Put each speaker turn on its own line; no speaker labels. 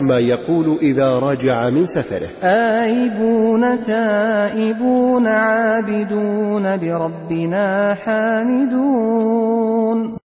ما يقول إذا رجع من سفره
آيبون تائبون عابدون لربنا حامدون